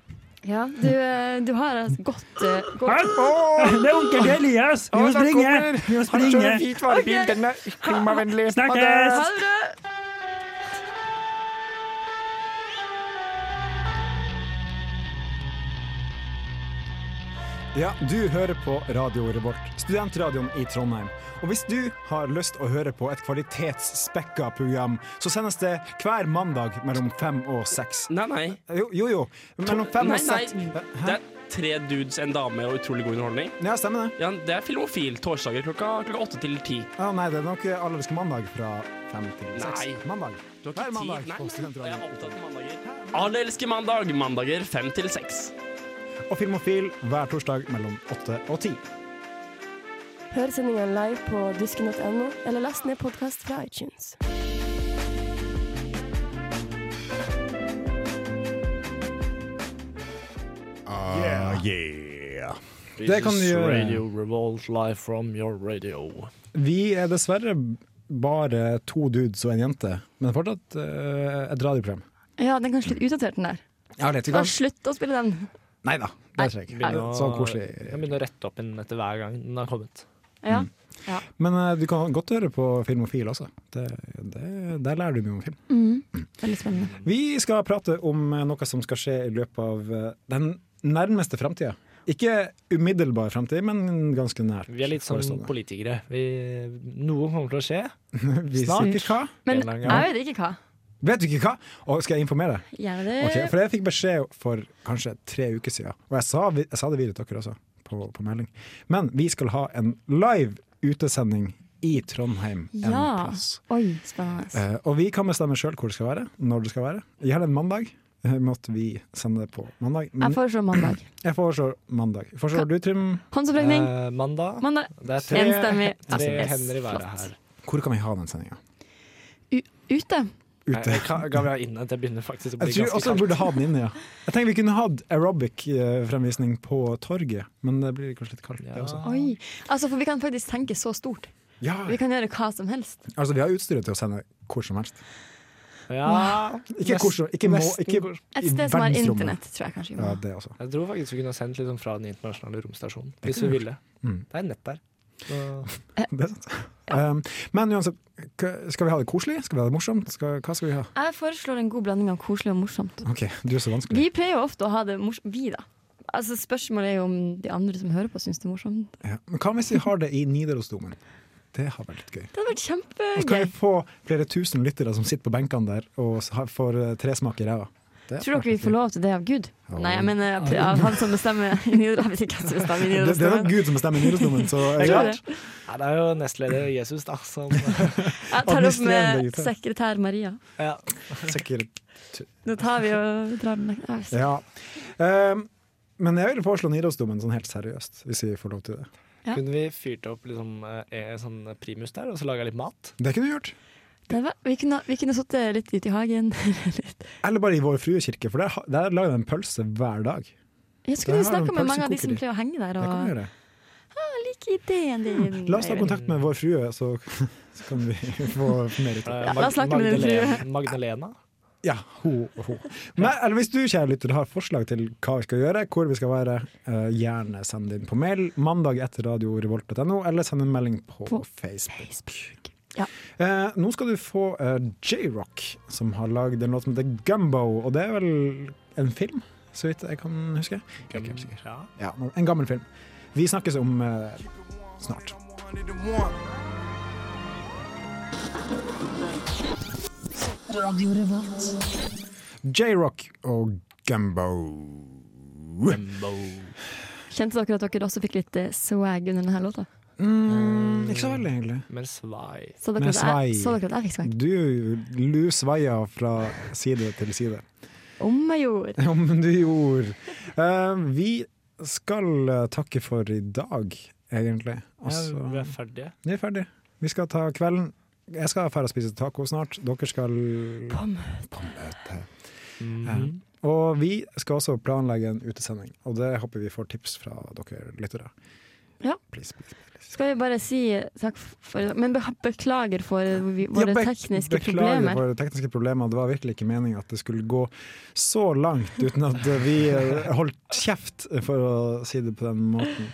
[SPEAKER 5] Ja, du, eh, du har et godt, eh,
[SPEAKER 9] Hei!
[SPEAKER 5] godt
[SPEAKER 9] Det er onkel Elias! Vi må
[SPEAKER 4] Å, der
[SPEAKER 9] springe!
[SPEAKER 4] kommer.
[SPEAKER 9] Vi må
[SPEAKER 4] Han kjører
[SPEAKER 9] springe!
[SPEAKER 4] en hvit varebil,
[SPEAKER 5] Ok.
[SPEAKER 4] den er klimavennlig. Ha det.
[SPEAKER 9] Snakkes!
[SPEAKER 5] Ha det bra!
[SPEAKER 2] Ja, du hører på Radio Revolt, studentradioen i Trondheim. Og hvis du har lyst å høre på et kvalitetsspekka program, så sendes det hver mandag mellom fem og seks.
[SPEAKER 7] Nei, nei.
[SPEAKER 2] Jo, jo. jo. Mellom fem
[SPEAKER 7] Nei,
[SPEAKER 2] og
[SPEAKER 7] nei.
[SPEAKER 2] seks. Hæ?
[SPEAKER 7] Det er tre dudes, en dame og utrolig god underholdning.
[SPEAKER 2] Ja, stemmer det.
[SPEAKER 7] Ja, det er Filmofil torsdager klokka, klokka åtte til ti.
[SPEAKER 2] Ja, nei, det er nok Allerske mandag fra fem til seks.
[SPEAKER 7] Nei.
[SPEAKER 2] Mandag.
[SPEAKER 7] Du har
[SPEAKER 2] Hver
[SPEAKER 7] ikke
[SPEAKER 2] mandag
[SPEAKER 7] tid. Nei,
[SPEAKER 2] på
[SPEAKER 7] nei, jeg
[SPEAKER 2] Studentradioen.
[SPEAKER 7] er opptatt av mandager. Alle elsker mandag. Mandager fem til seks.
[SPEAKER 2] Og Filmofil hver torsdag mellom åtte og ti.
[SPEAKER 10] Hør sendingen live på dusken.no, eller last ned podkast fra iTunes.
[SPEAKER 6] Ah, yeah.
[SPEAKER 2] Det kan du gjøre. Radio
[SPEAKER 7] Revolt live from your radio.
[SPEAKER 2] Vi er dessverre bare to dudes og en jente, men fortsatt eh, et radioprogram.
[SPEAKER 5] Ja, den er kanskje litt utdatert, den der.
[SPEAKER 2] Ja, det er
[SPEAKER 5] Da, slutt å spille den.
[SPEAKER 2] Nei da, det tror jeg ikke.
[SPEAKER 5] Nei.
[SPEAKER 2] Så Sånn koselig.
[SPEAKER 7] Jeg begynner å rette opp den etter hver gang den har kommet.
[SPEAKER 5] Ja.
[SPEAKER 2] Men eh, du kan godt høre på Filmofil også. Det, det, der lærer du mye om film.
[SPEAKER 5] Mm. Veldig spennende.
[SPEAKER 2] Vi skal prate om eh, noe som skal skje i løpet av eh, den nærmeste framtida. Ikke umiddelbar framtid, men ganske nær.
[SPEAKER 7] Vi er litt sånn
[SPEAKER 4] sånn
[SPEAKER 7] som
[SPEAKER 2] forestående.
[SPEAKER 7] politikere. Vi, noe kommer til å skje.
[SPEAKER 2] Vi snakker hva?
[SPEAKER 5] Men
[SPEAKER 7] En lang gang.
[SPEAKER 5] jeg vet ikke hva.
[SPEAKER 2] Vet du ikke hva? Og skal jeg informere deg?
[SPEAKER 5] Gjerne det.
[SPEAKER 2] Ok, for jeg fikk beskjed for kanskje tre uker siden, og jeg sa, vi- jeg sa det videre til dere også, på, på melding. Men vi skal ha en live utesending i Trondheim en
[SPEAKER 5] Ja.
[SPEAKER 2] plass.
[SPEAKER 5] Oi, spennende.
[SPEAKER 2] Eh, og vi kan bestemme sjøl hvor det skal være, når det skal være. Gjelder en mandag, eh, måtte vi sende det på mandag. Men
[SPEAKER 5] Jeg foreslår mandag.
[SPEAKER 2] jeg foreslår mandag. Foreslår du, Trym?
[SPEAKER 5] Håndsopprekning.
[SPEAKER 4] Eh, mandag.
[SPEAKER 5] Mandag.
[SPEAKER 4] Det er tre,
[SPEAKER 5] Enstemmig.
[SPEAKER 4] tre
[SPEAKER 5] Yes,
[SPEAKER 4] hender i været
[SPEAKER 5] flott.
[SPEAKER 4] her.
[SPEAKER 2] Hvor kan vi ha den sendinga?
[SPEAKER 5] Ute.
[SPEAKER 4] Nei,
[SPEAKER 2] Ute.
[SPEAKER 4] Jeg kan- ga meg inn at jeg begynner faktisk å bli
[SPEAKER 2] Jeg tror
[SPEAKER 4] ganske
[SPEAKER 2] også vi
[SPEAKER 4] kald.
[SPEAKER 2] burde ha den inne, ja. Jeg tenker vi kunne hatt aerobic-fremvisning på torget, men det blir kanskje litt kaldt, det også.
[SPEAKER 5] Oi. Altså, for vi kan faktisk tenke så stort.
[SPEAKER 2] Ja,
[SPEAKER 5] Vi kan gjøre hva som helst.
[SPEAKER 2] altså vi har utstyret til å sende hvor som helst.
[SPEAKER 4] Ja,
[SPEAKER 2] Ikke
[SPEAKER 4] nest-
[SPEAKER 2] hvor som Ikke må
[SPEAKER 4] nesten
[SPEAKER 2] ikke
[SPEAKER 4] hvor-
[SPEAKER 5] Et
[SPEAKER 2] I
[SPEAKER 5] sted som har
[SPEAKER 2] verdensrommet.
[SPEAKER 5] internett, tror jeg kanskje vi må
[SPEAKER 2] Ja,
[SPEAKER 5] ha.
[SPEAKER 2] det også.
[SPEAKER 4] Jeg tror faktisk vi kunne ha sendt liksom fra den internasjonale romstasjonen,
[SPEAKER 2] Det
[SPEAKER 4] hvis
[SPEAKER 2] kunne
[SPEAKER 4] vi
[SPEAKER 2] vi
[SPEAKER 4] ville.
[SPEAKER 2] Mm.
[SPEAKER 4] Det er nett der. Så,
[SPEAKER 2] Det er sant. Um, men uansett, k- skal vi ha det koselig? Skal vi ha det morsomt? Skal, hva skal vi ha?
[SPEAKER 5] Jeg foreslår en god blanding av koselig og morsomt.
[SPEAKER 2] OK, du er så vanskelig.
[SPEAKER 5] Vi pleier jo ofte å ha det morsomt. Vi, da. Altså, spørsmålet er jo om de andre som hører på, syns det er morsomt.
[SPEAKER 2] Ja. Men hva hvis vi har det i Nidarosdomen? Det har vært litt gøy.
[SPEAKER 5] Det hadde vært
[SPEAKER 2] Og så kan vi
[SPEAKER 5] kjempegøy.
[SPEAKER 2] få flere tusen lyttere som sitter på benkene der og s- har- får eh, tresmak i ræva. Det
[SPEAKER 5] Tror dere vi får lov til det av Gud?
[SPEAKER 2] Ja.
[SPEAKER 5] Nei, jeg mener p- av han som bestemmer i Nidaros. Jeg vet ikke hvem som bestemmer i
[SPEAKER 2] Det, det er nok
[SPEAKER 5] Nidarosdomen.
[SPEAKER 2] Gud som bestemmer Nidarosdomen, så
[SPEAKER 5] Jeg tror
[SPEAKER 2] klart.
[SPEAKER 5] det.
[SPEAKER 4] Nei, det er jo nestleder Jesus, da, som
[SPEAKER 5] Jeg tar opp med
[SPEAKER 2] Administrerende direktør.
[SPEAKER 5] sekretær Maria.
[SPEAKER 4] ja.
[SPEAKER 2] Sikkert.
[SPEAKER 5] Nå tar vi og vi drar den Jeg vet ikke.
[SPEAKER 2] Ja. Ehm, men jeg vil foreslå Nidarosdomen sånn helt seriøst, hvis vi får lov til det.
[SPEAKER 5] Ja.
[SPEAKER 4] Kunne vi fyrt opp liksom, eh, en sånn primus der, og så laga litt mat?
[SPEAKER 2] Det kunne vi gjort.
[SPEAKER 5] Det var- Vi kunne, vi kunne sittet litt ute i hagen.
[SPEAKER 2] Eller bare i Vår Frue kirke, for der, ha- der lager de en pølse hver dag.
[SPEAKER 5] Jeg
[SPEAKER 2] Der har
[SPEAKER 5] skulle
[SPEAKER 2] vi
[SPEAKER 5] snakka med mange av de som
[SPEAKER 2] pølsekokeri.
[SPEAKER 5] pleier å henge der.
[SPEAKER 2] Det kan vi
[SPEAKER 5] Og
[SPEAKER 2] gjøre.
[SPEAKER 5] like ideen din.
[SPEAKER 2] La oss ta
[SPEAKER 5] Øyvind.
[SPEAKER 2] kontakt med Vår Frue, så, så kan vi få mer ut av det.
[SPEAKER 4] Eh,
[SPEAKER 5] Ja,
[SPEAKER 4] Mag-
[SPEAKER 5] la oss snakke med din
[SPEAKER 4] Magdalena- Magdalena?
[SPEAKER 2] Ja, ho og ho. Men, eller hvis du, kjære lytter, har forslag til hva vi skal gjøre, hvor vi skal være, eh, gjerne send det inn på mail mandag etter radiorevolt.no, eller send en melding på,
[SPEAKER 5] På
[SPEAKER 2] Facebook.
[SPEAKER 5] Ja.
[SPEAKER 2] Eh, nå skal du få eh, J-Rock, som har lagd en låt som heter Gumbo, og det er vel en film, så vidt jeg kan huske. Jeg er ikke helt sikker.
[SPEAKER 4] Ja.
[SPEAKER 2] Ja, en gammel film. Vi snakkes om eh, snart. J-Rock og Gumbo.
[SPEAKER 5] Kjente dere at dere også fikk litt eh, swag under denne låta?
[SPEAKER 2] Mm, ikke så veldig, egentlig.
[SPEAKER 4] Men svai.
[SPEAKER 5] Så
[SPEAKER 2] Nei,
[SPEAKER 5] dere, at
[SPEAKER 2] swag.
[SPEAKER 5] jeg, så dere at jeg fikk swag?
[SPEAKER 2] Du lusvaia fra side til side.
[SPEAKER 5] Om jeg gjorde.
[SPEAKER 2] Om du gjorde. Eh, vi skal eh, takke for i dag, egentlig. Og
[SPEAKER 4] Ja,
[SPEAKER 2] så-
[SPEAKER 4] vi er ferdige.
[SPEAKER 2] vi er ferdige. Vi skal ta kvelden. Jeg skal dra og spise taco snart. Dere skal
[SPEAKER 5] På
[SPEAKER 2] på møte. Mhm. Ja. Og vi skal også planlegge en utesending, og det håper vi får tips fra dere lyttere.
[SPEAKER 5] Ja.
[SPEAKER 2] Please, please, please.
[SPEAKER 5] Skal vi bare si takk for i dag? Men be beklager for vi- våre
[SPEAKER 2] Ja, be-
[SPEAKER 5] tekniske
[SPEAKER 2] beklager
[SPEAKER 5] problemer.
[SPEAKER 2] for tekniske problemer. Det var virkelig ikke meningen at det skulle gå så langt uten at vi eh, holdt kjeft, for å si det på den måten.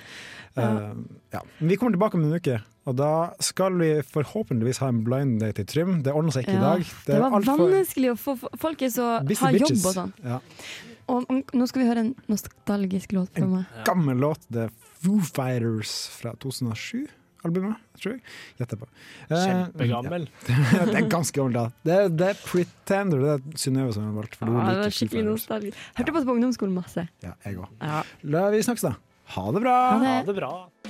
[SPEAKER 2] Eh, ja. Men vi kommer tilbake om en uke, og da skal vi forhåpentligvis ha en blind date i Trym. Det ordner seg ikke i
[SPEAKER 5] Ja,
[SPEAKER 2] dag.
[SPEAKER 5] Det var
[SPEAKER 2] alt for-
[SPEAKER 5] vanskelig å få Folk er så
[SPEAKER 2] Busy
[SPEAKER 5] har jobb
[SPEAKER 2] bitches.
[SPEAKER 5] og sånn.
[SPEAKER 2] Ja.
[SPEAKER 5] Og mm, nå skal vi høre en nostalgisk låt fra meg.
[SPEAKER 2] gammel låt. Det er Foo Fighters fra 2007-albumet, tror jeg. Gjetter på. Eh,
[SPEAKER 4] Kjempegammel.
[SPEAKER 2] ja, det er ganske gammelt, da. Det er, det er Pretender. Det er Synnøve som har valgt. For
[SPEAKER 5] Ja,
[SPEAKER 2] hun
[SPEAKER 5] det
[SPEAKER 2] liker
[SPEAKER 5] var
[SPEAKER 2] Foo
[SPEAKER 5] skikkelig
[SPEAKER 2] Fighters.
[SPEAKER 5] nostalgisk. Hørte på det på ungdomsskolen masse.
[SPEAKER 2] Ja, jeg òg.
[SPEAKER 5] Ja.
[SPEAKER 2] Vi snakkes, da. Ha det bra!
[SPEAKER 5] Ha det.
[SPEAKER 4] Ha det bra.